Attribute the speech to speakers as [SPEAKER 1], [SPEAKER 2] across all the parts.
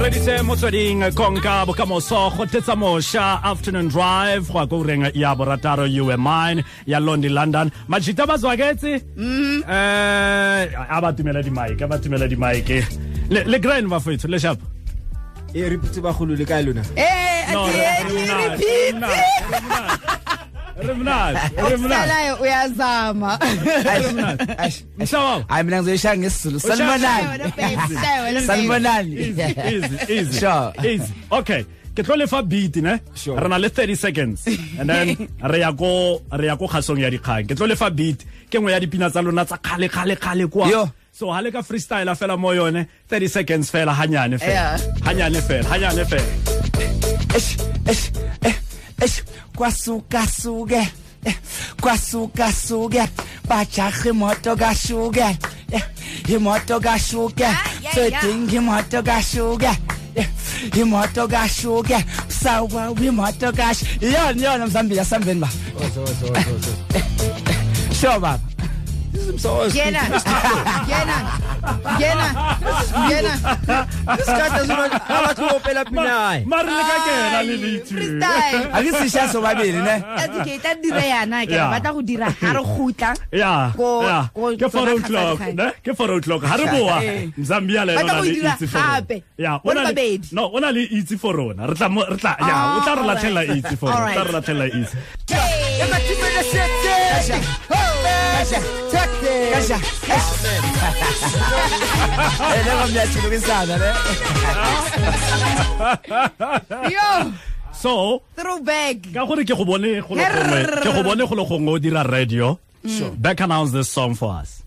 [SPEAKER 1] reditse motsweding konka bokamoso go tletsa mošwa afternoon drive go ya ko ureng ya borataro you were mine ya londi london majita ba zwaketse um a ba tumela dimike a ba tumela dimike le le grand ba fethu le shapa
[SPEAKER 2] e re pitse bagolo le kae lona
[SPEAKER 3] Eh,
[SPEAKER 1] No, re-
[SPEAKER 3] ati-
[SPEAKER 1] re
[SPEAKER 3] ati-
[SPEAKER 1] mnandi, re
[SPEAKER 3] repeat.
[SPEAKER 1] mnandi, re mnandi, re mnandi,
[SPEAKER 3] Usalayo uyazama
[SPEAKER 1] re mnandi. Mhlawumbe.
[SPEAKER 2] hayi mina ngizoyishaya ngesizulu
[SPEAKER 3] Ushaye wena
[SPEAKER 2] sanibonani
[SPEAKER 3] babe, ushaye wena babe.
[SPEAKER 1] Easy,
[SPEAKER 2] sanibonani
[SPEAKER 1] easy, easy.
[SPEAKER 2] Sure.
[SPEAKER 1] Easy. Okay. ke tlo lefa beat ne
[SPEAKER 2] Sure.
[SPEAKER 1] re na le 30 seconds and then re ya ko re ya ko kgasong ya dikgang ke tlo lefa beat ke nngwe ya dipina tsa lona tsa kgale kgale kgale kwa
[SPEAKER 2] Yo.
[SPEAKER 1] so ha le ka freestyle fela mo yone 30 seconds fela hanyane fela
[SPEAKER 3] Yeah.
[SPEAKER 1] hanyane fela hanyane fela
[SPEAKER 2] Eish,
[SPEAKER 3] e
[SPEAKER 2] eish, eh, eish. kwasukasuke eh, kwasukasuke bajaha imoto kashuke eh, imoto kashuke
[SPEAKER 3] Ah, yeah,
[SPEAKER 2] sedinga imoto kashuke eh, imoto kashuke sawa imoto kash iyona iyona mzambila sambeni ba Eh, sho baba
[SPEAKER 3] Ngena, ngena, ngena, ngena.
[SPEAKER 1] mari le ka kena le
[SPEAKER 3] Ai,
[SPEAKER 1] leitse
[SPEAKER 3] freestyle.
[SPEAKER 2] akisisha sobabili ne
[SPEAKER 3] Educate, a dire yana ke
[SPEAKER 1] Yeah.
[SPEAKER 3] re batla go dira ha re gutla
[SPEAKER 1] ya
[SPEAKER 3] Ko-
[SPEAKER 1] ya.
[SPEAKER 3] ko-
[SPEAKER 1] ke four
[SPEAKER 3] tsona
[SPEAKER 1] o'clock
[SPEAKER 3] kgatsa-kgang.
[SPEAKER 1] ne ke four o'clock ha re boa
[SPEAKER 2] Eh.
[SPEAKER 1] zambia le
[SPEAKER 3] Ba
[SPEAKER 1] yona le
[SPEAKER 3] tla go dira
[SPEAKER 1] itse for
[SPEAKER 3] gape.
[SPEAKER 1] ya
[SPEAKER 3] Bo
[SPEAKER 1] o na
[SPEAKER 3] le
[SPEAKER 1] le
[SPEAKER 3] babedi.
[SPEAKER 1] no o na le itse for rona re tla mo- re tla ya o tla re
[SPEAKER 3] Alright.
[SPEAKER 1] latlhela itse for rona o tla re
[SPEAKER 3] Alright.
[SPEAKER 1] latlhela itse
[SPEAKER 2] Eh,
[SPEAKER 3] yo
[SPEAKER 1] so
[SPEAKER 3] throwback
[SPEAKER 1] ka gore ke go bone go le gongwe
[SPEAKER 3] Err.
[SPEAKER 1] ke go bone go le gongwe o dira radio
[SPEAKER 3] Mm.
[SPEAKER 1] back announce this song for us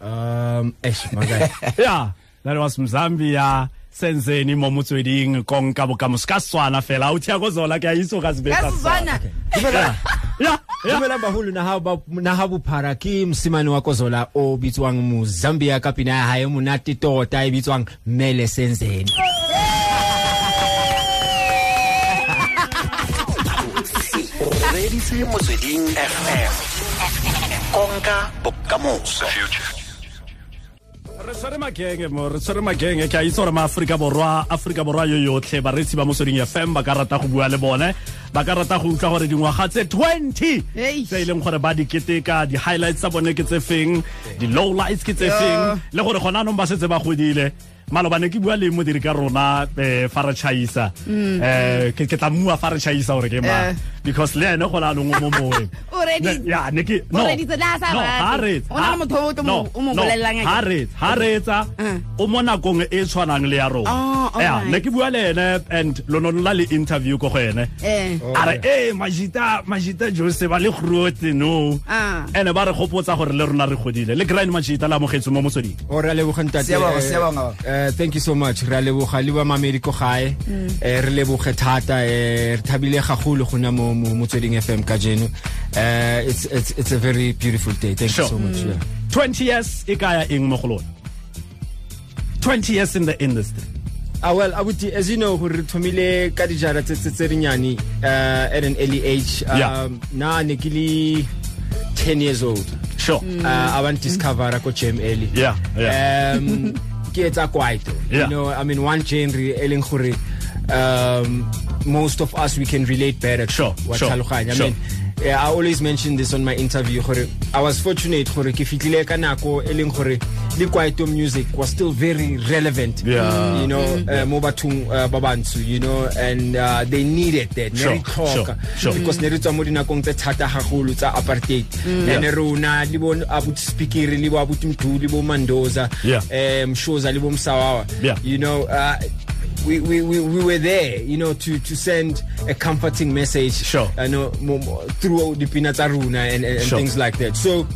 [SPEAKER 2] Um, eish, my guy.
[SPEAKER 1] yeah that was mzambia senzeni mo motsweding konka bokamoso ka swana fela o thia ko zola ke a itse o ka se be
[SPEAKER 3] ka
[SPEAKER 1] ka
[SPEAKER 3] Setswana.
[SPEAKER 1] Setswana. Yeah. Yeah, yeah.
[SPEAKER 2] dumelang bagolo naga bophara ke mosimane wa kozola o bitswang mozambia ka pina ya gae monate tota e bitswang mele senzeni
[SPEAKER 4] reditse motsweding fm konka bokamoso
[SPEAKER 1] re tshwere magenge mo re tshwere magenge ke a itse gore maaforika borwa aforika borwa yo yotlhe bareetsi ba motsweding fm ba ka rata go bua le bone ba ka rata go utlwa gore dingwaga tse 20
[SPEAKER 3] Eish.
[SPEAKER 1] tse e leng gore ba di keteka di-highlights tsa bone ke tse feng di-low lights ke tse feng le gore gona anong ba setse ba godile malobane ke bua le modiri ka rona eh, fa re chaisa um ke ke tla mmua fa re chaisa gore ke ma
[SPEAKER 3] Mm. Eh.
[SPEAKER 1] because le ene gona anong o mo moweng
[SPEAKER 3] O ready?
[SPEAKER 1] Ne- ya, ne ke- no,
[SPEAKER 3] O reditse le ha sa
[SPEAKER 1] no,
[SPEAKER 3] rate.
[SPEAKER 1] ha re-
[SPEAKER 3] Go na le
[SPEAKER 1] ha-
[SPEAKER 3] motho o tlo mo-
[SPEAKER 1] no,
[SPEAKER 3] o mo
[SPEAKER 1] no,
[SPEAKER 3] bolelelang a ke-
[SPEAKER 1] ha re- ha reetsa o mo nakong e e tshwanang le ya
[SPEAKER 3] Oh,
[SPEAKER 1] rona
[SPEAKER 3] Eh. all
[SPEAKER 1] Ya,
[SPEAKER 3] right.
[SPEAKER 1] ne ke bua le ene and lono la le interview ko go ene
[SPEAKER 3] eh
[SPEAKER 1] a re ee majita majita jose ba le grote no
[SPEAKER 3] Ah.
[SPEAKER 1] ene ba re gopotsa gore le rona re godile le grind majita la amogetswe mo motsweding
[SPEAKER 2] o Oh, re a leboga
[SPEAKER 5] Siyabonga, siyabonga.
[SPEAKER 2] ntate thank you so much re a leboga le bamamedi ko gae Eh, re leboge thata eh, re thabile gagolo go na mo mo- motsweding fm ka jeno Eh, it's- it's it's a very beautiful day thank you
[SPEAKER 1] Sure.
[SPEAKER 2] so much yeah.
[SPEAKER 1] 20 years e kaya eng mo go lona 20 years in the industry
[SPEAKER 2] Ah, well, Abuti, as you know, re thomile ka dijara tse tse- tse dinyane uh, at an early age. Um,
[SPEAKER 1] Yeah.
[SPEAKER 2] Na ne ke le 10 years old.
[SPEAKER 1] sure
[SPEAKER 3] Mm.
[SPEAKER 2] Uh, I want discover ko jam early.
[SPEAKER 1] Yeah, yeah.
[SPEAKER 2] Um, ke etsa kwaito.
[SPEAKER 1] Yeah.
[SPEAKER 2] You know, I mean, one genre e leng gore um, most of us we can relate better to
[SPEAKER 1] Sure,
[SPEAKER 2] wa
[SPEAKER 1] sure,
[SPEAKER 2] tlhaloganya. I
[SPEAKER 1] sure.
[SPEAKER 2] mean, yeah, I always mention this on my interview gore I was fortunate gore ke fitlile ka nako e leng gore le kwaito music was still very relevant
[SPEAKER 1] Yeah.
[SPEAKER 2] you know uh, mo bathong uh, ba bantsho you know and uh, they needed that
[SPEAKER 1] Sure,
[SPEAKER 2] ne re tlhoka
[SPEAKER 1] sure, sure.
[SPEAKER 2] because ne re tswa mo dinakong tse thata gagolo tsa apartheid
[SPEAKER 1] Mm.
[SPEAKER 2] and rona le bo abuti speakere le bo abuti mdu le bo mandoza
[SPEAKER 1] Yeah.
[SPEAKER 2] eh, mshoza le bo msawawa
[SPEAKER 1] Yeah.
[SPEAKER 2] you know uh, We, we, we, we were there, you know, to, to send a comforting message
[SPEAKER 1] Sure.
[SPEAKER 2] you know, mo, mo, through the Pinataruna and, and, and
[SPEAKER 1] Sure.
[SPEAKER 2] things like that. So,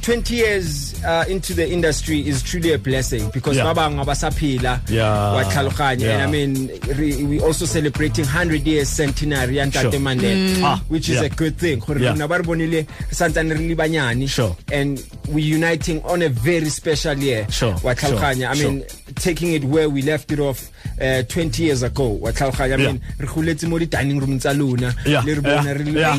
[SPEAKER 2] 20 years uh, into the industry is truly a blessing because
[SPEAKER 1] Yeah.
[SPEAKER 2] ba bangwe ba sa phela,
[SPEAKER 1] Yeah.
[SPEAKER 2] wa tlhaloganya.
[SPEAKER 1] Yeah.
[SPEAKER 2] and I mean, re, we also celebrating 100 years centenary and
[SPEAKER 1] Sure.
[SPEAKER 2] Tate Mandela,
[SPEAKER 1] Ah,
[SPEAKER 6] Mm.
[SPEAKER 2] which is
[SPEAKER 1] yeah.
[SPEAKER 2] a good thing. Gore
[SPEAKER 1] Yeah.
[SPEAKER 2] rona ba re bonile re santsane re le banyane.
[SPEAKER 1] Sure.
[SPEAKER 2] And
[SPEAKER 6] we uniting on a very special year.
[SPEAKER 1] Sure,
[SPEAKER 6] Wa
[SPEAKER 1] sure,
[SPEAKER 6] tlhaloganya. I mean, taking it where we left it off uh, 20 years ago. Wa tlhaloganya. I mean, re goletse mo di dining room tsa lona.
[SPEAKER 1] Yeah,
[SPEAKER 6] Le re bona
[SPEAKER 1] yeah, yeah,
[SPEAKER 6] re le-
[SPEAKER 1] yeah,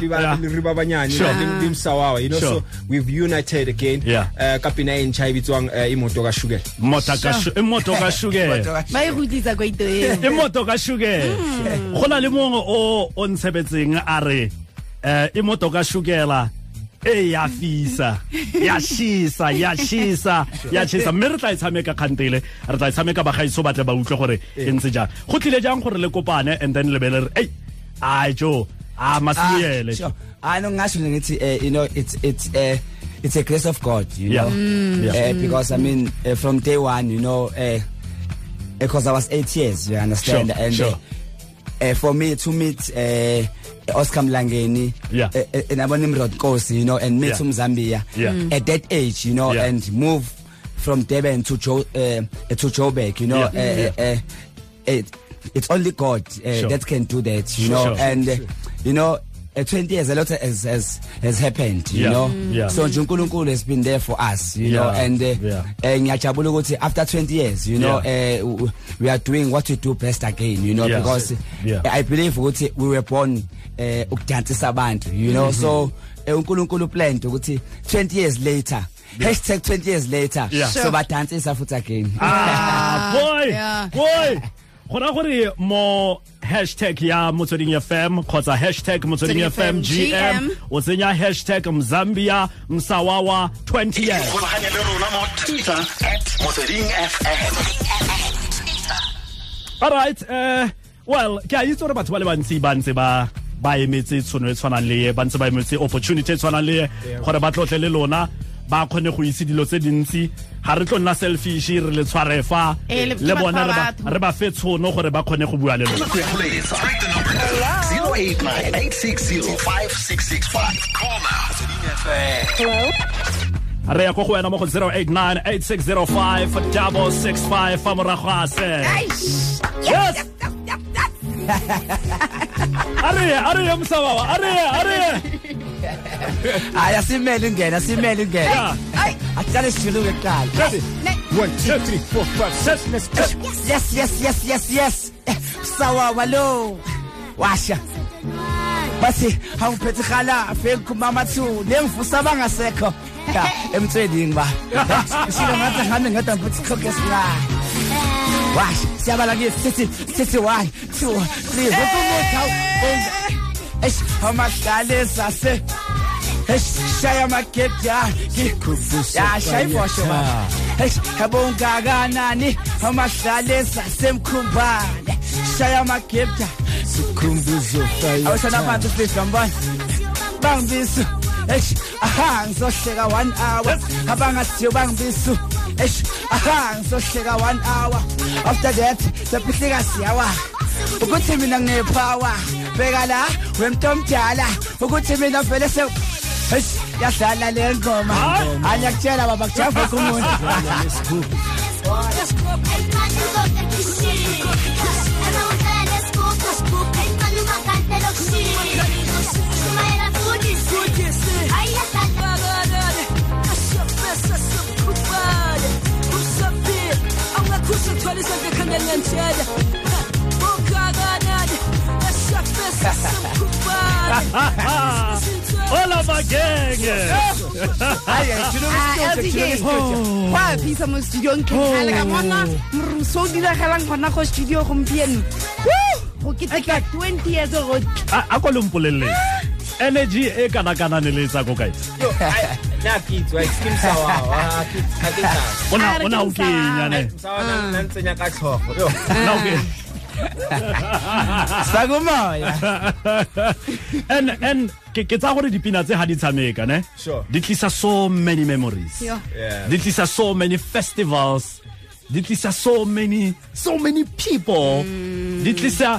[SPEAKER 6] le ba-
[SPEAKER 1] yeah.
[SPEAKER 6] le re ba banyane,
[SPEAKER 1] Sure.
[SPEAKER 6] le- le msawawa, you know.
[SPEAKER 1] Sure.
[SPEAKER 6] So we've united again.
[SPEAKER 1] Yeah.
[SPEAKER 6] Uh, ka pina e ntjha e bitswang, uh, Imoto ka Sugar.
[SPEAKER 1] Mota ka shu- eh, imoto ka sugar
[SPEAKER 3] ba e rutisa kwa ito eo
[SPEAKER 1] imoto ka sugar go na le mongwe o o ntshebetseng a re um imoto ka sugela e ya fisa ya shisa ya shisa ya shisa mme re tla e tshameka kgantele re tla e tshameka bagaiso batle ba utlwe gore e ntse jang go tlile jang gore le kopane and then lebele re ei a jo a masiele
[SPEAKER 2] Ah, sure. I know actually it's uh, you know it's it's uh, it's a grace of God, you
[SPEAKER 1] Yeah.
[SPEAKER 2] know.
[SPEAKER 1] Mm. Yeah.
[SPEAKER 2] Uh, because I mean uh, from day one, you know, uh, because I was eight years, you understand,
[SPEAKER 1] Sure,
[SPEAKER 2] and
[SPEAKER 1] sure.
[SPEAKER 2] Uh, uh, for me to meet uh, Oscar Mlangeni
[SPEAKER 1] Yeah.
[SPEAKER 2] uh, uh, and Abonimrod Kosi, you know, and meet
[SPEAKER 1] Yeah.
[SPEAKER 2] from Zambia
[SPEAKER 1] Yeah. Mm.
[SPEAKER 2] at that age, you know,
[SPEAKER 1] Yeah.
[SPEAKER 2] and move from Durban to jo- uh, to Joburg, you know,
[SPEAKER 1] Yeah.
[SPEAKER 2] uh, Uh, uh, it, it's only God uh,
[SPEAKER 1] Sure.
[SPEAKER 2] that can do that, you
[SPEAKER 1] Sure,
[SPEAKER 2] know,
[SPEAKER 1] sure, sure,
[SPEAKER 2] and uh, you know at 20 years a lot has has, has happened you
[SPEAKER 1] Yeah, Mm.
[SPEAKER 2] know
[SPEAKER 1] yeah.
[SPEAKER 2] so Junkulunkulu has been there for us you know
[SPEAKER 1] Yeah,
[SPEAKER 2] and uh,
[SPEAKER 1] yeah.
[SPEAKER 2] eh, ngiyajabula ukuthi after 20 years you know
[SPEAKER 1] Yeah.
[SPEAKER 2] uh, w- we are doing what we do best again you know
[SPEAKER 1] Yeah.
[SPEAKER 2] because eh,
[SPEAKER 1] Yeah.
[SPEAKER 2] I believe ukuthi we were born uh, ukudansisa abantu you know so
[SPEAKER 1] Mm-hmm.
[SPEAKER 2] eh, uNkulunkulu planned ukuthi 20 years later hashtag 20 years later
[SPEAKER 1] Yeah.
[SPEAKER 2] so badansisa futhi again
[SPEAKER 1] Ah, boy
[SPEAKER 3] yeah.
[SPEAKER 1] boy go raya gore mo hashtag ya motsweding fm kgotsa hashtag motsweding fm
[SPEAKER 3] Motsweding
[SPEAKER 1] gm
[SPEAKER 3] FM.
[SPEAKER 1] o tsenya hashtag mzambia msawawa 20 years
[SPEAKER 4] ikgolaganye le rona mo twitter at motsweding fm
[SPEAKER 1] all right uh, well ke a itse gore batho ba le bantsi ba ntse ba ba emetse tshono e tshwanang le e ba ntse ba emetse opportunity e tshwanang le e gore ba tlotle le lona ba kgone go itse dilo tse dintsi ga re tlo nna selfish re le tshware fa
[SPEAKER 3] Eh, le-
[SPEAKER 1] le
[SPEAKER 3] ke batho
[SPEAKER 1] bona
[SPEAKER 3] ba
[SPEAKER 1] re ba-
[SPEAKER 3] batho.
[SPEAKER 1] re ba fe tshono gore ba kgone go bua le lona
[SPEAKER 4] Nako ya go letsa. Hello. 089-860-5665. Call now. Motsweding FM.
[SPEAKER 1] re ya go go wena mo go 089 8605 fa morago a se
[SPEAKER 3] Eish.
[SPEAKER 1] Yes.
[SPEAKER 3] Yap, yap, yap, yap.
[SPEAKER 1] a re ye, a re ye mosabawa a re ye, a re ye.
[SPEAKER 2] hayi asimele ingena asimele ingena
[SPEAKER 1] Yeah.
[SPEAKER 3] Ay,
[SPEAKER 2] atsale sijuluke kuqala
[SPEAKER 3] ne-
[SPEAKER 6] One, two, three, four, five, six, let's go.
[SPEAKER 2] yes yes yes yes yes sawawa lo washa bathi awuphethe hala fake mama two nemvusa bangasekho Ya, emthwedini ba shilo ngathi ngihambe ngedwa futhi khokhe sila washa siyabala ke sithi sithi 1 2 3 ukumuntu awu eish amadlale sase Eish shaya makeja ngikhumbisa ya shaya ibosho baba Eish yabongakanani amadlale sasemkhumbane shaya makeja
[SPEAKER 6] Sikhumbuzo fire.
[SPEAKER 2] awushona phansi please bambona bangibisu eish aha ngizohleka 1 hour abangathiyo bangibisu eish aha ngizohleka 1 hour after that sepihlika siyawa ukuthi mina nginepower bheka la wemntomdala ukuthi mina vele se eish yadlala le ngoma anyakutshela baba kujafa kumuntu
[SPEAKER 1] Hola, my gang.
[SPEAKER 2] hayi
[SPEAKER 3] Ah, LTK. Wa phisa mo studiong ke tlhale
[SPEAKER 6] Oh.
[SPEAKER 3] ka bona moruso o diragalang gona go studio gompieno Woo! go keteka 20 years old
[SPEAKER 1] a a ko le mpolelele energy e kana-kanane le tsa ko kae
[SPEAKER 6] na kitso a skim Ah, sawa wa kitso ka kitso
[SPEAKER 1] o na
[SPEAKER 3] A re
[SPEAKER 1] o na o
[SPEAKER 3] ke mosawa.
[SPEAKER 1] kenyane
[SPEAKER 6] sawa
[SPEAKER 1] Ah.
[SPEAKER 6] na nna ntsenya ka tlhogo yo
[SPEAKER 1] na o kenya.
[SPEAKER 2] sakumoya
[SPEAKER 1] and and ke ke tsa gore dipina tse ha di tshameka ne
[SPEAKER 6] Sure.
[SPEAKER 1] di tlisa so many memories
[SPEAKER 3] Yeah.
[SPEAKER 6] Yeah.
[SPEAKER 1] di tlisa so many festivals di tlisa so many so many people di tlisa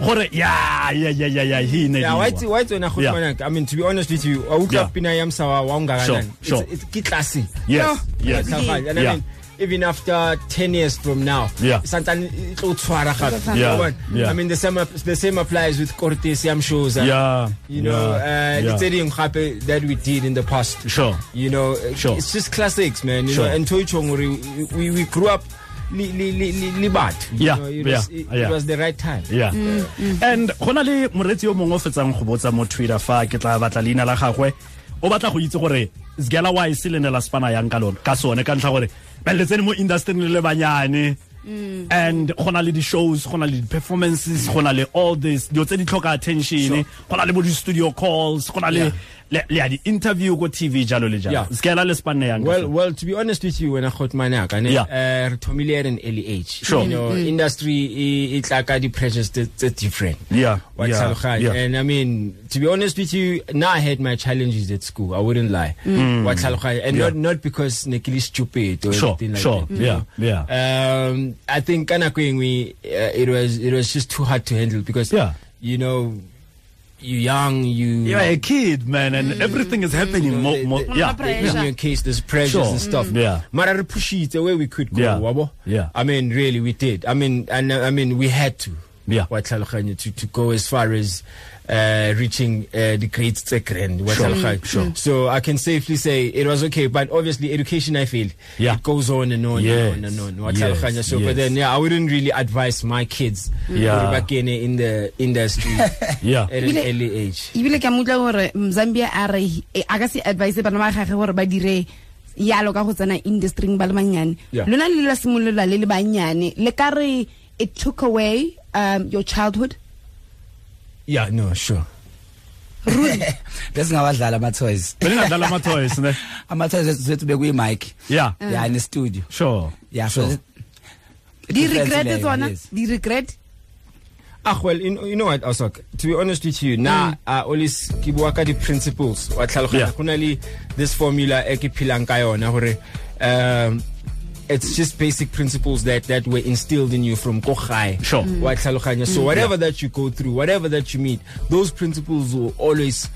[SPEAKER 1] gore ya ya ya ya ya hi ne di
[SPEAKER 6] yeah
[SPEAKER 1] wa.
[SPEAKER 6] why do why do na go
[SPEAKER 1] Yeah.
[SPEAKER 6] tsana i mean to be honest with you a
[SPEAKER 1] Yeah.
[SPEAKER 6] utla pina ya msawa wa ungakanani
[SPEAKER 1] Sure,
[SPEAKER 6] It's-
[SPEAKER 1] sure.
[SPEAKER 6] it's ki classy
[SPEAKER 1] yes yes
[SPEAKER 6] and i
[SPEAKER 1] Yeah.
[SPEAKER 6] mean even after 10 years from now
[SPEAKER 1] Yeah.
[SPEAKER 6] santane e tlo tshwara gape
[SPEAKER 1] Yeah,
[SPEAKER 6] Wa bona?
[SPEAKER 1] yeah.
[SPEAKER 6] i mean the same app- the same applies with cortesium shows uh,
[SPEAKER 1] Yeah,
[SPEAKER 6] you know
[SPEAKER 1] yeah,
[SPEAKER 6] uh
[SPEAKER 1] yeah.
[SPEAKER 6] the stadium gape that we did in the past
[SPEAKER 1] Sure.
[SPEAKER 6] you know uh,
[SPEAKER 1] Sure.
[SPEAKER 6] it's just classics man you
[SPEAKER 1] Sure.
[SPEAKER 6] know and toy chong we, we we grew up li li li li, li bad you
[SPEAKER 1] Yeah,
[SPEAKER 6] know, it
[SPEAKER 1] yeah,
[SPEAKER 6] was, it,
[SPEAKER 1] yeah.
[SPEAKER 6] it was the right time
[SPEAKER 1] yeah and go na le moreetsi yo mongwe o fetsang go botsa mo twitter fa ke tla batla leina la gagwe o batla go itse gore sgela wi se lene la spana yang ka lone ka sone ka ntlha gore ba le tsene mo industry le le banyane and go na le di-shows go na le di-performances go na le all this dilo tse di tlhoka attention go na le bo di-studio calls go na le le le ya di-interview ko tv jalo le jalo
[SPEAKER 6] Yeah.
[SPEAKER 1] sgela le spanne yang ka
[SPEAKER 6] Well,
[SPEAKER 1] sone.
[SPEAKER 6] well, to be honest with you, when I got my neck, and
[SPEAKER 1] Yeah.
[SPEAKER 6] uh, retomile at an early age.
[SPEAKER 1] Sure.
[SPEAKER 6] You know, industry, e, it's like the pressures, that's different.
[SPEAKER 1] Yeah,
[SPEAKER 6] Wa
[SPEAKER 1] yeah,
[SPEAKER 6] tlhaloganya.
[SPEAKER 1] yeah.
[SPEAKER 6] And I mean, to be honest with you, now I had my challenges at school. I wouldn't lie. Wa tlhaloganya. And
[SPEAKER 1] Mm. Yeah.
[SPEAKER 6] not, not because Nikili stupid or
[SPEAKER 1] Sure,
[SPEAKER 6] anything like
[SPEAKER 1] sure.
[SPEAKER 6] that. Mm-hmm.
[SPEAKER 1] Yeah, yeah.
[SPEAKER 6] Um, I think kana kweng we, uh, it was it was just too hard to handle because
[SPEAKER 1] Yeah.
[SPEAKER 6] you know, you young, you
[SPEAKER 1] you're a kid man and everything is happening mo,
[SPEAKER 6] the-
[SPEAKER 1] mo,
[SPEAKER 6] the-
[SPEAKER 1] yeah
[SPEAKER 3] Pressure.
[SPEAKER 6] in your case there's pressures
[SPEAKER 1] Sure.
[SPEAKER 6] and stuff
[SPEAKER 1] Mm. Yeah.
[SPEAKER 6] mara re pushitse where we could go
[SPEAKER 1] Yeah.
[SPEAKER 6] wabo
[SPEAKER 1] Yeah.
[SPEAKER 6] i mean really we did i mean and uh, i mean we had to
[SPEAKER 1] Yeah.
[SPEAKER 6] wa tlhaloganya to to go as far as uh, reaching uh, the grades tse grand wa
[SPEAKER 1] Mm.
[SPEAKER 6] tlhaloganya sure. so i can safely say it was okay but obviously education i feel
[SPEAKER 1] Yeah.
[SPEAKER 6] it goes on and on
[SPEAKER 1] Yes.
[SPEAKER 6] and on and on wa
[SPEAKER 1] Yes.
[SPEAKER 6] tlhaloganya so
[SPEAKER 1] Yes.
[SPEAKER 6] but then yeah i wouldn't really advise my kids
[SPEAKER 1] Yeah.
[SPEAKER 6] gore ba kene in the industry
[SPEAKER 1] yeah
[SPEAKER 6] at an
[SPEAKER 3] Ebile-
[SPEAKER 6] early age
[SPEAKER 3] ebile ka mutla gore mzambia a re eh, a ka se advice bana ba gage gore ba dire yalo ka go tsena industryng ba le bannyane
[SPEAKER 6] Yeah.
[SPEAKER 3] lona le la simolola le le bannyane le ka re it took away um, your childhood
[SPEAKER 6] yeah no sure
[SPEAKER 2] besingawadlala ama-toys
[SPEAKER 1] belingadlala ama-toys ne
[SPEAKER 2] ama-toys zethu- zethu bekuyimike
[SPEAKER 1] yeah
[SPEAKER 2] ya nestudio
[SPEAKER 1] sure
[SPEAKER 2] ya
[SPEAKER 1] sure.
[SPEAKER 2] so
[SPEAKER 3] di-regret
[SPEAKER 2] leyo,
[SPEAKER 3] tsona
[SPEAKER 2] yes.
[SPEAKER 3] di-regret
[SPEAKER 6] Ah well, you know, you know what, Osok? To be honest with you, now I always keep working the principles. What
[SPEAKER 1] Mm. Yeah.
[SPEAKER 6] yeah. this formula e ke phelang ka yona hore, um it's just basic principles that that were instilled in you from ko gae.
[SPEAKER 1] Sure. Mm.
[SPEAKER 6] Wa tlhaloganya. So whatever that you go through, whatever that you meet, those principles will always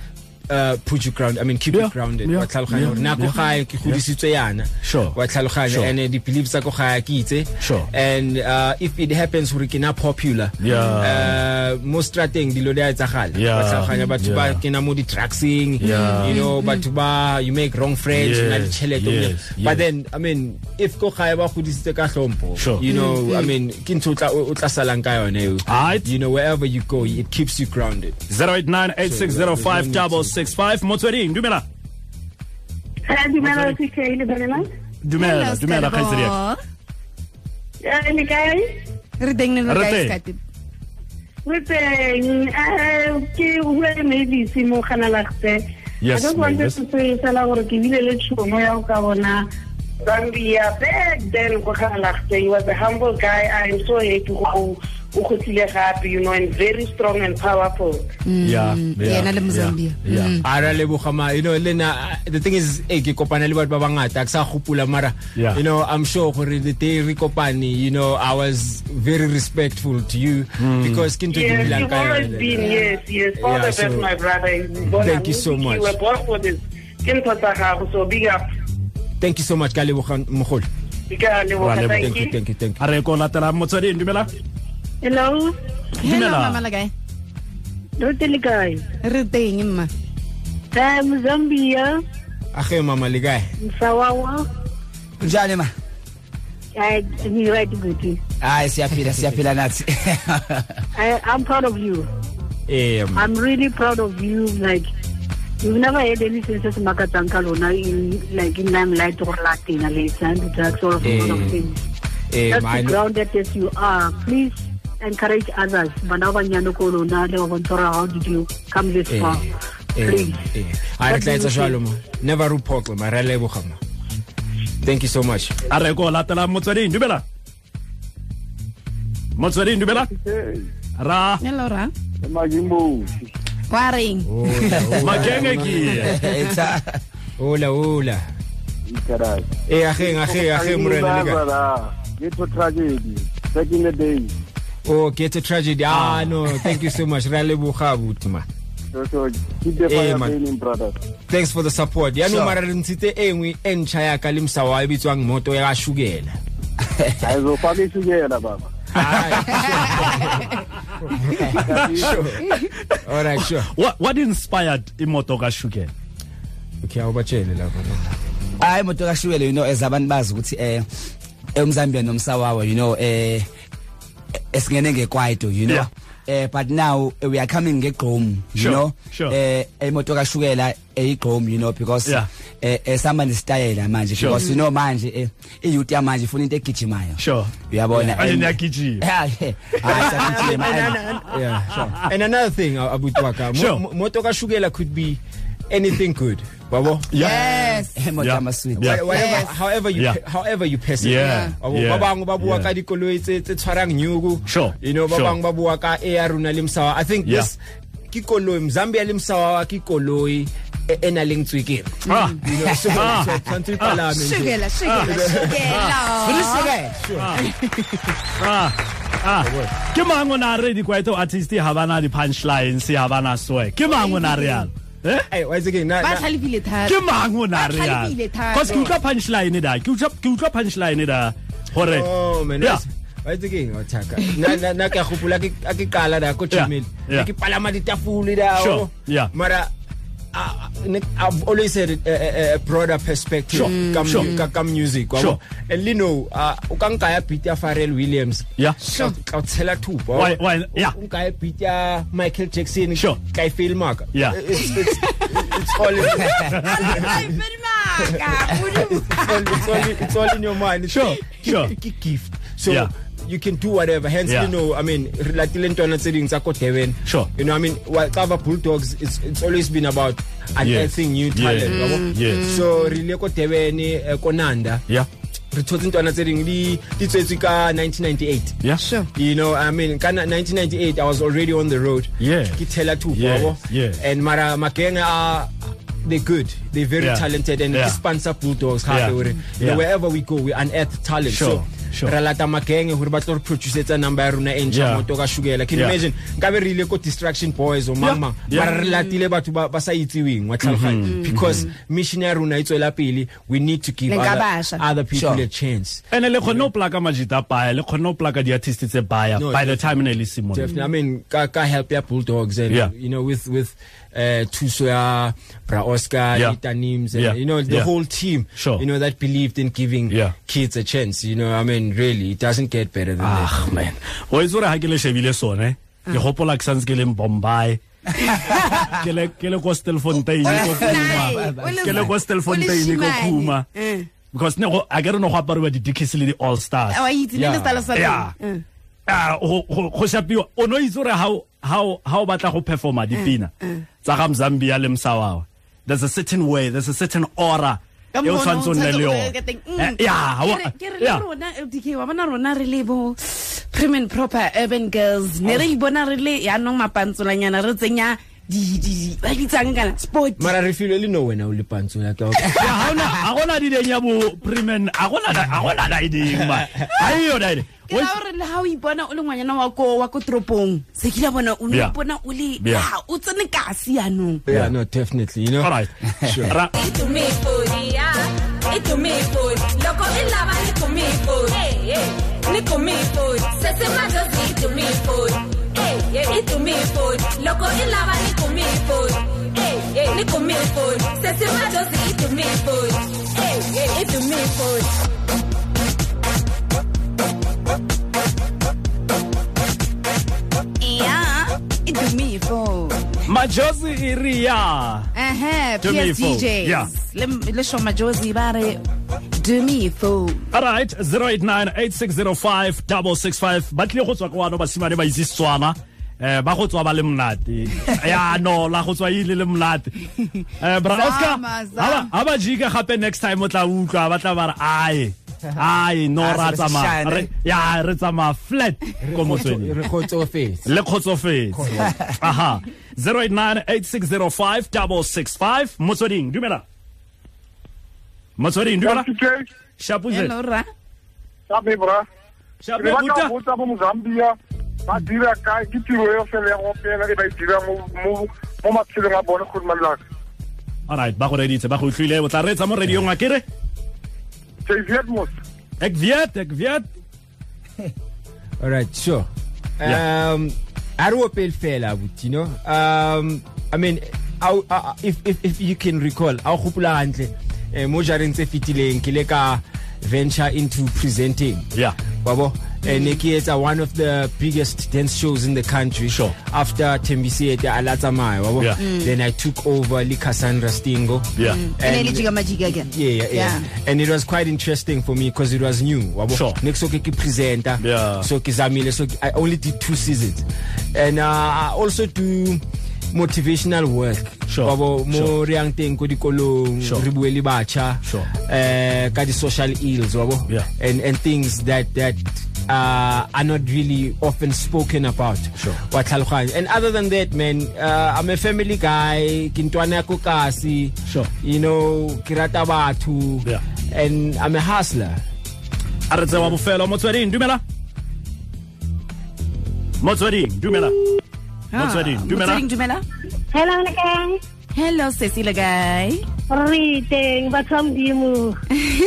[SPEAKER 6] uh put you ground I mean keep
[SPEAKER 1] Yeah.
[SPEAKER 6] you grounded.
[SPEAKER 1] Yeah.
[SPEAKER 6] Wa tlhaloganya.
[SPEAKER 1] Yeah.
[SPEAKER 6] Na ko gae ke godisitswe yana.
[SPEAKER 1] Sure.
[SPEAKER 6] Wa
[SPEAKER 1] Sure.
[SPEAKER 6] tlhaloganya and uh, the beliefs tsa ko gae ke itse.
[SPEAKER 1] Sure.
[SPEAKER 6] And uh if it happens hore ke na popular
[SPEAKER 1] Yeah.
[SPEAKER 6] uh, mo strateng dilo di a etsagala
[SPEAKER 1] Yeah.
[SPEAKER 6] Ba tlhaloganya batho ba
[SPEAKER 1] Yeah.
[SPEAKER 6] kena mo di-truckseng
[SPEAKER 1] Yeah.
[SPEAKER 6] you know batho ba you make wrong friends
[SPEAKER 1] Yes,
[SPEAKER 6] o na le tšhelete o na-
[SPEAKER 1] yes, yes.
[SPEAKER 6] but then i mean if ko gae ba godisitse ka hlompho
[SPEAKER 1] Sure.
[SPEAKER 6] you know i mean ke ntho o tla- o o tla salang ka yone eo.
[SPEAKER 1] Alright.
[SPEAKER 6] you know wherever you go it keeps you grounded
[SPEAKER 1] 089860565 motsweding dumela
[SPEAKER 7] Eh, Dumela TK le Bonela.
[SPEAKER 1] dumela
[SPEAKER 3] Hello,
[SPEAKER 1] dumela kgaitsadi ya
[SPEAKER 3] Skabo.
[SPEAKER 7] Eh, le kae?
[SPEAKER 3] re teng ne le
[SPEAKER 1] Re
[SPEAKER 3] kae,
[SPEAKER 1] teng.
[SPEAKER 3] Skate?
[SPEAKER 7] Re teng. Eh, ke bua Mavis mo Ganalaagte.
[SPEAKER 1] Yes,
[SPEAKER 7] I just wanted
[SPEAKER 1] Mavis.
[SPEAKER 7] to say fela gore ke bile le tšhono ya go ka bona Zambia back then ko Ganalaagte. He was a humble guy. I am so happy go o gotlile gape, you know, and very strong and powerful.
[SPEAKER 1] Yeah, yeah,
[SPEAKER 3] Mm, yena le Mm. mozambia
[SPEAKER 1] yeah,
[SPEAKER 7] Mm.
[SPEAKER 1] yeah.
[SPEAKER 6] a re a Ah, leboga ma you know le nna, uh, the thing is e ke kopana le batho ba bangata ke sa gopola mara
[SPEAKER 1] Yeah.
[SPEAKER 6] you know i'm sure gore the day re kopane you know i was very respectful to you
[SPEAKER 1] Mm.
[SPEAKER 6] because ke ntho e ke
[SPEAKER 7] Yes,
[SPEAKER 6] dulang
[SPEAKER 7] you've
[SPEAKER 6] ka
[SPEAKER 7] always
[SPEAKER 6] yona.
[SPEAKER 7] been, yes, yes. All
[SPEAKER 6] Yeah,
[SPEAKER 7] the best,
[SPEAKER 6] so-
[SPEAKER 7] my brother.
[SPEAKER 6] Thank you so much.
[SPEAKER 7] You were born for this. Ke ntho tsa gago, so big up.
[SPEAKER 6] thank you so much ka leboga mogolo
[SPEAKER 7] Ke a leboga,
[SPEAKER 1] Wa leboga,
[SPEAKER 7] thank
[SPEAKER 6] thank you
[SPEAKER 7] you.
[SPEAKER 6] thank you thank you
[SPEAKER 1] a re ko latela motsweding dumela
[SPEAKER 7] Hello,
[SPEAKER 3] hello
[SPEAKER 1] Dumela.
[SPEAKER 3] mama la kae
[SPEAKER 7] Dr. Likai.
[SPEAKER 3] re teng mma
[SPEAKER 7] I'm Zambia,
[SPEAKER 6] age mama le kae
[SPEAKER 7] Msawawa.
[SPEAKER 2] kunjani ma
[SPEAKER 7] I, you right, good.
[SPEAKER 2] hayi siyaphila siyaphila nathi
[SPEAKER 7] I, I'm proud of you.
[SPEAKER 6] Eh, ma-
[SPEAKER 7] I'm really proud of you. Like, you've never had anything since Makatanka Lona in, like, in limelight or Latin, like, and drugs or a lot
[SPEAKER 6] Eh,
[SPEAKER 7] of things.
[SPEAKER 6] eh,
[SPEAKER 7] Just
[SPEAKER 6] ma- I
[SPEAKER 7] be
[SPEAKER 6] know-
[SPEAKER 7] grounded as you are. Please encourage others. Bana ba nyane ko lona le ba bontsha gore how did you come this
[SPEAKER 6] Eh,
[SPEAKER 7] far?
[SPEAKER 6] eh,
[SPEAKER 7] Please.
[SPEAKER 6] eh. a re
[SPEAKER 7] What do
[SPEAKER 6] tla
[SPEAKER 7] you
[SPEAKER 6] etsa jalo
[SPEAKER 7] think?
[SPEAKER 6] ma never rupoqo ma re a leboga ma thank you so much
[SPEAKER 1] a re ko latela motsweding dumela motsweding dumela ra
[SPEAKER 3] hello ra
[SPEAKER 8] Magimbo.
[SPEAKER 3] wa reng
[SPEAKER 1] Oh, makenge e ke
[SPEAKER 2] Etha.
[SPEAKER 6] ola ola e ageng ageng ageng morena le kae
[SPEAKER 8] Little tragedy. Back in the day.
[SPEAKER 6] Oh, get a tragedy. Ah, no, thank you so much. Ra leboga abuti man.
[SPEAKER 8] So, so keep the
[SPEAKER 6] Eh,
[SPEAKER 8] fire
[SPEAKER 6] man.
[SPEAKER 8] burning, brother.
[SPEAKER 6] thanks for the support
[SPEAKER 2] Sure.
[SPEAKER 6] yaanong mara re ntshitse e nngwe e ntšha yaka le mosawa e bitswang moto ya shukela
[SPEAKER 8] I will fuck you together, Baba.
[SPEAKER 6] all right sure
[SPEAKER 1] What, what inspired imoto kashukela
[SPEAKER 6] okay awubatshele lapho
[SPEAKER 2] hayi moto kashukele you know as abantu bazi ukuthi eh emzambia nomsawawa you know eh esingene ngekwaito you know
[SPEAKER 1] Yeah.
[SPEAKER 2] eh but now eh, we are coming ngegqom you
[SPEAKER 1] Sure,
[SPEAKER 2] know
[SPEAKER 1] sure.
[SPEAKER 2] eh emoto kashukela eyigqom you know because
[SPEAKER 1] Yeah.
[SPEAKER 2] eh eh, samane style manje
[SPEAKER 1] Sure.
[SPEAKER 2] because you know manje eh iyouth yamanje ifuna into egijimayo
[SPEAKER 1] Sure.
[SPEAKER 2] uyabona
[SPEAKER 1] Manje
[SPEAKER 2] and-
[SPEAKER 1] niyagijima.
[SPEAKER 2] hayi hayi siyagijima and-
[SPEAKER 6] yeah, sure. And another thing, uh, Abu Twaka,
[SPEAKER 1] Sure.
[SPEAKER 6] mo- mo- Motoka Shugela could be anything good. Babo.
[SPEAKER 3] yes
[SPEAKER 2] emoto
[SPEAKER 1] Yeah.
[SPEAKER 2] amasweet
[SPEAKER 1] Yeah.
[SPEAKER 6] Wha- Whatever, however you,
[SPEAKER 1] Yeah.
[SPEAKER 6] however you person.
[SPEAKER 1] Yeah.
[SPEAKER 6] Babo,
[SPEAKER 1] Yeah.
[SPEAKER 6] ba bangwe ba bua
[SPEAKER 1] Yeah.
[SPEAKER 6] ka dikoloi tse tse tshwarang nyuku.
[SPEAKER 1] Sure.
[SPEAKER 6] You know, ba
[SPEAKER 1] Sure.
[SPEAKER 6] bangwe ba bua ka e ya rona le Msawa. I think
[SPEAKER 1] Yeah.
[SPEAKER 6] this ke koloi Mzambia le Msawa wa ke koloi e e nang leng tswekere.
[SPEAKER 1] Ah.
[SPEAKER 6] You know, so-
[SPEAKER 1] Ah.
[SPEAKER 6] so tshwantse e palame nje.
[SPEAKER 3] shukela shukela shukela
[SPEAKER 1] Ah, ke mang o ne a re dikwaito artist ga bana di-punchlines ga bana swe ke mang o ne a re yalo Eh?
[SPEAKER 6] Hey, why is it again? Na-
[SPEAKER 3] ba
[SPEAKER 6] na-
[SPEAKER 3] tlhalefile thata
[SPEAKER 1] ke mang o ne a
[SPEAKER 3] Ba
[SPEAKER 1] re yalo
[SPEAKER 3] tlhalefile thata.
[SPEAKER 1] because ke utlwa punchline da ke utlwa ke utlwa punchline da gore
[SPEAKER 6] Oh man.
[SPEAKER 1] Yeah.
[SPEAKER 6] that's- Wa itse keng wa thaka. Na na na ka gopola ke a ke qala da ko
[SPEAKER 1] Yeah,
[SPEAKER 6] Jamil.
[SPEAKER 1] yeah.
[SPEAKER 6] Ne Ke palama ditafole da.
[SPEAKER 1] Sure,
[SPEAKER 6] oh.
[SPEAKER 1] yeah.
[SPEAKER 6] Mara I, I've always had a, eh, a, a- a broader perspective
[SPEAKER 1] Sure,
[SPEAKER 6] ka, mu-
[SPEAKER 1] sure.
[SPEAKER 6] ka, ka music wa
[SPEAKER 1] Sure.
[SPEAKER 6] bo. and you know uh, o ka nkaya beat ya Pharrell Williams
[SPEAKER 1] Yeah.
[SPEAKER 6] Ka- ka o tshela thupa
[SPEAKER 1] Why- why- yeah.
[SPEAKER 6] o nkaya beat ya Michael Jackson
[SPEAKER 1] Sure.
[SPEAKER 6] ka e fail maka
[SPEAKER 1] Yeah.
[SPEAKER 6] it's, it's, it's all in, it's all, it's all, in- it's all in your mind. It's
[SPEAKER 1] Sure, sure.
[SPEAKER 6] It's a gift. So
[SPEAKER 1] Yeah.
[SPEAKER 6] you can do whatever. Hence,
[SPEAKER 1] Yeah.
[SPEAKER 6] you know, I mean, relatile ntwana tse ding tsa ko Durban.
[SPEAKER 1] Sure.
[SPEAKER 6] You know, I mean, while cover Bulldogs, it's it's always been about unearthing new talent.
[SPEAKER 1] Yeah.
[SPEAKER 6] yabo?
[SPEAKER 1] Yes.
[SPEAKER 6] So rile ko Durban eh, ko Nanda.
[SPEAKER 1] yeah
[SPEAKER 6] Re thotse ntwana tse ding di di tswetswe ka 1998.
[SPEAKER 1] yeah
[SPEAKER 6] You know, I mean, kana 1998, I was already on the road.
[SPEAKER 1] Yeah.
[SPEAKER 6] Ke tela two,
[SPEAKER 1] Yes,
[SPEAKER 6] wabo.
[SPEAKER 1] yes.
[SPEAKER 6] And Mara Makenga are they're good. They're very
[SPEAKER 1] Yeah.
[SPEAKER 6] talented and
[SPEAKER 1] Yeah.
[SPEAKER 6] they sponsor Bulldogs.
[SPEAKER 1] Yeah.
[SPEAKER 6] Yeah. You
[SPEAKER 1] Yeah.
[SPEAKER 6] know, wherever we go, we unearth talent.
[SPEAKER 1] Sure,
[SPEAKER 6] So,
[SPEAKER 1] sure.
[SPEAKER 6] Ralata Makenga, who about to produce a number of Runa and
[SPEAKER 1] Yeah.
[SPEAKER 6] Motoka Sugar. Can you
[SPEAKER 1] Yeah.
[SPEAKER 6] imagine? Ngabe really go distraction boys or mama.
[SPEAKER 1] Yeah. Mm-hmm.
[SPEAKER 6] Mara relatile batho ba ba sa itsiweng wa tlhaloganya. Because missionary Runa itswela e pele, we need to give
[SPEAKER 3] Le nka
[SPEAKER 6] other,
[SPEAKER 3] bašwa.
[SPEAKER 6] other people
[SPEAKER 2] Sure.
[SPEAKER 6] a chance.
[SPEAKER 1] ene le kgone go plaka majita baya le kgone go plaka di-artist tse baya
[SPEAKER 6] No,
[SPEAKER 1] by the time ne le simone
[SPEAKER 6] Definitely. I mean, ka, ka help your bulldogs and
[SPEAKER 1] Yeah.
[SPEAKER 6] you know with with uh, Tusoya, Bra Oscar,
[SPEAKER 1] Yeah.
[SPEAKER 6] yeah. Nims, and
[SPEAKER 1] Yeah.
[SPEAKER 6] you know the
[SPEAKER 1] Yeah.
[SPEAKER 6] whole team.
[SPEAKER 1] Sure.
[SPEAKER 6] You know that believed in giving
[SPEAKER 1] Yeah.
[SPEAKER 6] kids a chance. You know, I mean, really, it doesn't get better than
[SPEAKER 1] ah man o itse gore ga ke le shebile sone
[SPEAKER 6] Ah.
[SPEAKER 1] ke gopola ke santse ke leng bombay ke le- ke le ko stelfontein ko kuma ke le ko stelfontein ko kuma
[SPEAKER 3] Eh,
[SPEAKER 6] Eh.
[SPEAKER 1] because ne go- a ke re no go apariwa di-dikis le di-all stars
[SPEAKER 6] Oh,
[SPEAKER 3] wa itse le
[SPEAKER 6] Yeah.
[SPEAKER 3] lesalo sa
[SPEAKER 1] Yeah.
[SPEAKER 3] teng. Mm.
[SPEAKER 1] Ah, go go- go shapiwa o no itse gore ha o- ha o ha o batla go performa dipina
[SPEAKER 3] Eh,
[SPEAKER 1] tsa ga mzambia le msawawa there's a certain way there's a certain aura
[SPEAKER 3] Ka
[SPEAKER 1] e o
[SPEAKER 3] mokgwa ona
[SPEAKER 1] tshwanetse o nne le
[SPEAKER 3] o
[SPEAKER 1] yone
[SPEAKER 3] tshwanetse o-
[SPEAKER 1] Eh,
[SPEAKER 3] Mm.
[SPEAKER 1] yeah,
[SPEAKER 3] Ke
[SPEAKER 1] wa-
[SPEAKER 3] re- ke re le
[SPEAKER 1] yeah.
[SPEAKER 3] rona LDK, wa bona rona re le bo prim and proper urban girls
[SPEAKER 1] Oh.
[SPEAKER 3] ne re ibona re le yaanong mapantsolanyana re tsenya di- di- di- ba bitsang kana sport
[SPEAKER 6] Mara refilo le no wena o le pantso ya ka.
[SPEAKER 1] Yeah, ha ona- ha gona di denya bo premen a gona na- ha gona na e ding ma ha iyo na e ding.
[SPEAKER 3] ke la gore le ha o ipona o le ngwanyana wa ko wa ko toropong se ke la bona o ne
[SPEAKER 1] Yeah.
[SPEAKER 3] o ipona o le
[SPEAKER 1] Yeah.
[SPEAKER 3] Ah, o tsene kasi yaanong
[SPEAKER 6] Yeah, no, definitely. You know.
[SPEAKER 1] All right. Ra-
[SPEAKER 9] Itu mi furia, itu mi fur. Loco in lava, itu mi fur. Hey, hey, niku mi fur. Sese majosi, itu mi fur. Hey, hey, itu mi fur. Loco in lava, niku mi fur. Hey, hey, niku mi fur. Sese majosi, itu mi fur. Hey, hey, itu mi fur.
[SPEAKER 3] yeah it do me for
[SPEAKER 1] majosi e re ya
[SPEAKER 3] Aha,
[SPEAKER 1] Do me
[SPEAKER 3] PS
[SPEAKER 1] for,
[SPEAKER 3] DJs.
[SPEAKER 1] yeah.
[SPEAKER 3] Le, le shoma Josie ba re do me for.
[SPEAKER 1] all right 0898605 ba tlile go tswa ko ano basimane ba itse setswana um ba go tswa ba le monate ya no la go tswa e ile le monate um bra oscar
[SPEAKER 3] Zama,
[SPEAKER 1] ha
[SPEAKER 3] zama.
[SPEAKER 1] ba- ha ba jika gape next time o tla utlwa ba tla ba re ae ae no
[SPEAKER 2] Ah,
[SPEAKER 1] ra
[SPEAKER 2] se re
[SPEAKER 1] tsamaya
[SPEAKER 2] seshane.
[SPEAKER 1] Re- ya re tsamaya flat ko motsweding
[SPEAKER 6] Re kgotsofetse.
[SPEAKER 1] le kgotsofetse aha 0898605 motsweding dumela motsweding dumela
[SPEAKER 8] TK,
[SPEAKER 1] shapuze
[SPEAKER 3] Hello ra.
[SPEAKER 4] Tá
[SPEAKER 8] Sabi, bra.
[SPEAKER 1] shape
[SPEAKER 8] Re batla
[SPEAKER 1] buta
[SPEAKER 8] ho botsa bo Mozambia, ba dira kae ke tiro yo fela ya go opela e
[SPEAKER 4] ben,
[SPEAKER 8] ba e dirang mo- mo mo matshelong a bone gore malelaka
[SPEAKER 1] alright ba go reditse ba go utlwile o tla reetsa mo radiong a kere
[SPEAKER 8] jvietmos
[SPEAKER 1] ek viet ek viet
[SPEAKER 6] All right, sure.
[SPEAKER 1] Yeah.
[SPEAKER 6] Um, I don't feel fair, but you know, um, I mean, I, I, if, if if you can recall, I hopola hantle. eh, Mo jareng tse fetileng ke le ka venture into presenting.
[SPEAKER 1] Yeah.
[SPEAKER 6] Babo, eh, ne ke etsa one of the biggest dance shows in the country.
[SPEAKER 1] Sure.
[SPEAKER 6] After Tembisi ete alatsa maya, babo.
[SPEAKER 1] Yeah.
[SPEAKER 6] Then I took over Likassandra Stingo.
[SPEAKER 1] yeah
[SPEAKER 3] ene jika majika Ya. again
[SPEAKER 6] Yeah, yeah, yeah, And it was quite interesting for me because it was new. wabo.
[SPEAKER 1] Sure.
[SPEAKER 6] Next okay, ke presenter.
[SPEAKER 1] Yeah.
[SPEAKER 6] So kizamile. So I only did two seasons, and uh, I also do motivational work.
[SPEAKER 1] Sure,
[SPEAKER 6] Wabo, mo
[SPEAKER 1] sure.
[SPEAKER 6] reyang teng ko dikolong,
[SPEAKER 1] Sure.
[SPEAKER 6] re bue le batjha,
[SPEAKER 1] Sure.
[SPEAKER 6] eh, ka di-social ills, wabo.
[SPEAKER 1] Yeah.
[SPEAKER 6] And and things that that. Uh, are not really often spoken about
[SPEAKER 1] Sure.
[SPEAKER 6] wa tlhaloganya and other than that man uh, i'm a family guy ke ntwana ya ko kasi
[SPEAKER 1] Sure.
[SPEAKER 6] you know ke rata batho
[SPEAKER 1] Yeah.
[SPEAKER 6] and i'm a hustler
[SPEAKER 1] a re tsewa bofelo motsweding dumela motsweding dumela motsweding dumela
[SPEAKER 3] Ah, motsweding dumela
[SPEAKER 10] Hello, Lekang.
[SPEAKER 3] hello sesi le kae
[SPEAKER 10] Re teng, batho ba modimo.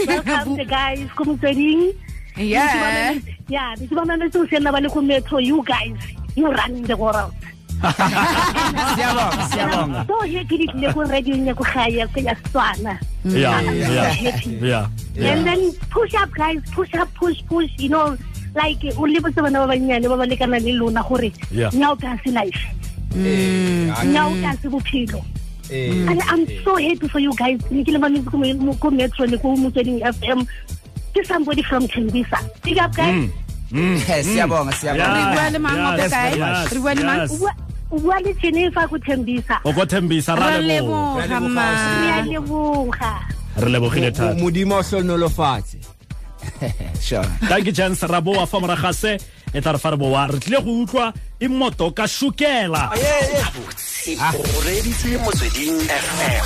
[SPEAKER 10] Welcome the guys, ko motsweding.
[SPEAKER 3] Ya. yeah
[SPEAKER 10] Yeah, ke ba mametse ho sena ba le ko metro. You guys, you run the world.
[SPEAKER 2] siyabonga siyabonga
[SPEAKER 10] So here ke ditlile ko radio ya ko gae ke ya Setswana.
[SPEAKER 3] Mm.
[SPEAKER 1] yeah yeah yeah
[SPEAKER 10] And then push up guys, push up, push, push, you know, like o le botse bana ba banyane ba ba lekana le lona gore
[SPEAKER 1] Yeah.
[SPEAKER 10] nyao ka se life, nyao ka se bophelo.
[SPEAKER 6] Eh,
[SPEAKER 10] and I'm so happy for you guys. Ne ke le mametse ko mo- mo- ko Metro le ko Motsweding FM. Ke somebody from Tembisa. Big up guys.
[SPEAKER 2] 啊 siyabonga siyabonga
[SPEAKER 3] Re bua le mang wa ko
[SPEAKER 1] Yes,
[SPEAKER 3] kae?
[SPEAKER 1] yes,
[SPEAKER 3] Re bua le mang?
[SPEAKER 1] yes.
[SPEAKER 10] Wa- wa le Jennifer ko Tembisa.
[SPEAKER 1] o ko thembisa ra
[SPEAKER 3] re
[SPEAKER 1] leboga
[SPEAKER 3] leboga ma
[SPEAKER 10] Ke a leboga.
[SPEAKER 1] re lebogile
[SPEAKER 6] o-
[SPEAKER 1] thata
[SPEAKER 6] modimo o hlonolofatse
[SPEAKER 2] sure
[SPEAKER 1] thank you chance ra boa fa moraga se e tla re fa re boa re tlile go utlwa e moto ka shukela
[SPEAKER 4] o reditse motsweding fm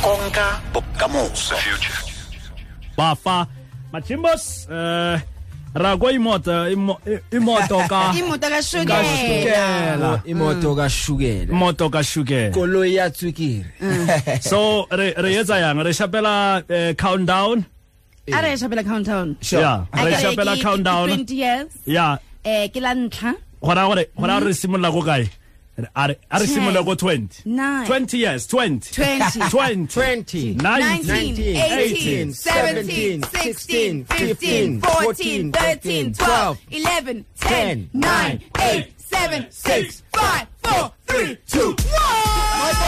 [SPEAKER 4] konka bokamoso
[SPEAKER 1] ba fa machimbos um ra ko imoto imo- eh, i- imoto ka
[SPEAKER 3] imoto ka
[SPEAKER 1] ka
[SPEAKER 3] shukela
[SPEAKER 1] shukela
[SPEAKER 6] imoto ka shukela
[SPEAKER 1] imoto ka shukela
[SPEAKER 6] koloi ya tswekere
[SPEAKER 1] so re re etsa yang re shapela eh, countdown
[SPEAKER 3] a re shapela countdown
[SPEAKER 1] yeah
[SPEAKER 3] A
[SPEAKER 1] re
[SPEAKER 3] ka re
[SPEAKER 1] shapela
[SPEAKER 3] ke- ke
[SPEAKER 1] countdown
[SPEAKER 3] 20 years
[SPEAKER 1] yeah
[SPEAKER 3] eh ke la ntlha
[SPEAKER 1] gona gore gona re simolla go kae Re- a re a re
[SPEAKER 3] Ten.
[SPEAKER 1] simolla go 20
[SPEAKER 3] Nine.
[SPEAKER 1] 20 years 20
[SPEAKER 3] 20
[SPEAKER 1] 20 19
[SPEAKER 6] 20
[SPEAKER 3] 19, 18, 17, 16, 15, 14, 13, 12, 11, 10, 9, 8, 7, 6, 5, 4, 3, 2, 1.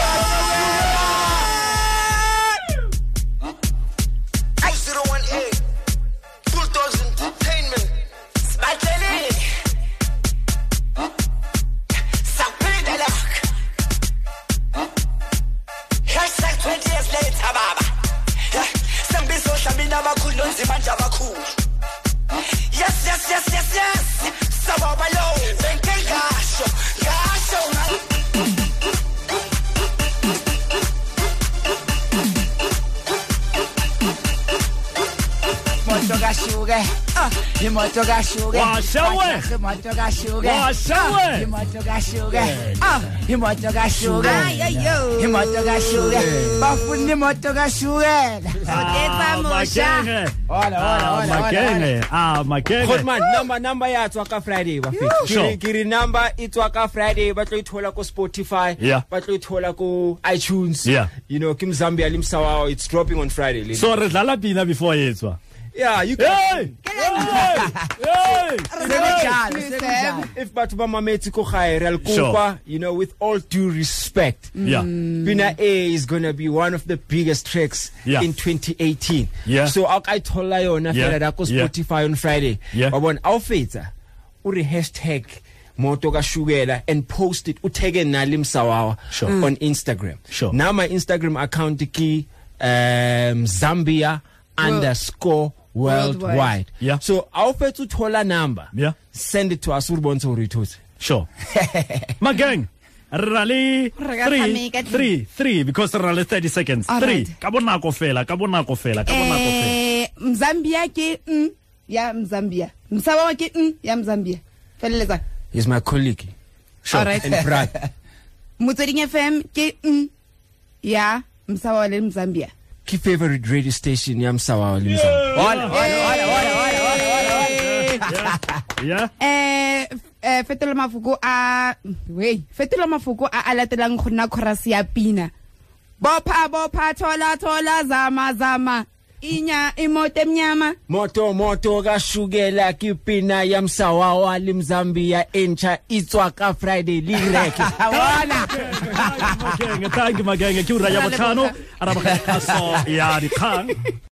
[SPEAKER 11] Hashtag 20 years later, baba. Sembizo shamina abakhulu nonzimanje abakhulu. Yes, yes, yes, yes, yes. Sababa lo, benke ngasho, ngasho nga-
[SPEAKER 2] imoto kashuke Ah, imoto kashuke
[SPEAKER 1] Washawe.
[SPEAKER 2] Ah, imoto kashuke
[SPEAKER 1] Washawe.
[SPEAKER 2] Ah, imoto kashuke Ah, imoto kashuke
[SPEAKER 3] Ay, ay, yo.
[SPEAKER 2] imoto kashuke bafuna imoto kashuke
[SPEAKER 1] Ah,
[SPEAKER 3] Mosha.
[SPEAKER 1] makenge.
[SPEAKER 2] Hola, hola,
[SPEAKER 1] Ah,
[SPEAKER 2] hola, hola, hola.
[SPEAKER 1] makenge ah makenge
[SPEAKER 6] Goldman number number ya tswa ka Friday ba fe.
[SPEAKER 1] Sure.
[SPEAKER 6] Ke ke re number e tswa ka Friday ba tlo ithola ko Spotify,
[SPEAKER 1] Yeah.
[SPEAKER 6] ba tlo ithola ko iTunes.
[SPEAKER 1] Yeah.
[SPEAKER 6] You know, Kim Zambia Limsawa it's dropping on Friday. ladies.
[SPEAKER 1] so re dlala pina before e etswa
[SPEAKER 6] yeah, you
[SPEAKER 1] hey
[SPEAKER 6] can
[SPEAKER 1] hey hey
[SPEAKER 2] Sekunjalo, sekunjalo.
[SPEAKER 6] if batho ba mametse ko gae re a le
[SPEAKER 1] Sure.
[SPEAKER 6] kopa, you know, with all due respect.
[SPEAKER 1] yeah
[SPEAKER 6] Pina A is going to be one of the biggest tracks
[SPEAKER 1] Yeah.
[SPEAKER 6] in 2018.
[SPEAKER 1] Yeah.
[SPEAKER 6] So I'll I told yona
[SPEAKER 1] Yeah.
[SPEAKER 6] fela da ko
[SPEAKER 1] Yeah.
[SPEAKER 6] Spotify on Friday.
[SPEAKER 1] Yeah.
[SPEAKER 6] Wabona I'll fetsa uri hashtag moto ka shukela and post it uteke nali msawawa
[SPEAKER 1] Sure.
[SPEAKER 6] on Instagram.
[SPEAKER 1] Sure.
[SPEAKER 6] Now my Instagram account ki um Zambia underscore
[SPEAKER 3] Worldwide.
[SPEAKER 6] worldwide.
[SPEAKER 1] Yeah.
[SPEAKER 6] So I'll fetsa uthola number.
[SPEAKER 1] Yeah.
[SPEAKER 6] Send it to us urbonto urithutse.
[SPEAKER 1] sure makenge rally
[SPEAKER 3] Re ka tshameka.
[SPEAKER 1] 3 3 3 because rally 30 seconds
[SPEAKER 3] kan? All
[SPEAKER 1] 3
[SPEAKER 3] right.
[SPEAKER 1] ka bonako fela ka bonako fela ka bonako fela
[SPEAKER 3] Eh, Mzambia ke mm ya Mzambia. Msawa ke mm ya Mzambia. feleletsa
[SPEAKER 6] He's my colleague. Sure.
[SPEAKER 3] Alright.
[SPEAKER 6] And Brad.
[SPEAKER 3] motsweding fm ke n ya msaba wa le mzambia
[SPEAKER 6] Key favorite radio station ya Msawawa le Msawawa.
[SPEAKER 2] Hola, hola, hola, hola, hola, hola, hola.
[SPEAKER 1] yeah
[SPEAKER 3] eh eh, fetola mafoko a wey fetola mafoko a a latelang go nna chorus ya pina bopha bopha thola thola zama zama inya imoto emnyama
[SPEAKER 6] Moto moto ka shukela ke pina ya Msawawa le Mzambia encha itswa ka Friday le reke.
[SPEAKER 1] Thank you, Magenge. Thank you, Magenge. Ke ura ya botlhano, araboga ka so ya dikgang.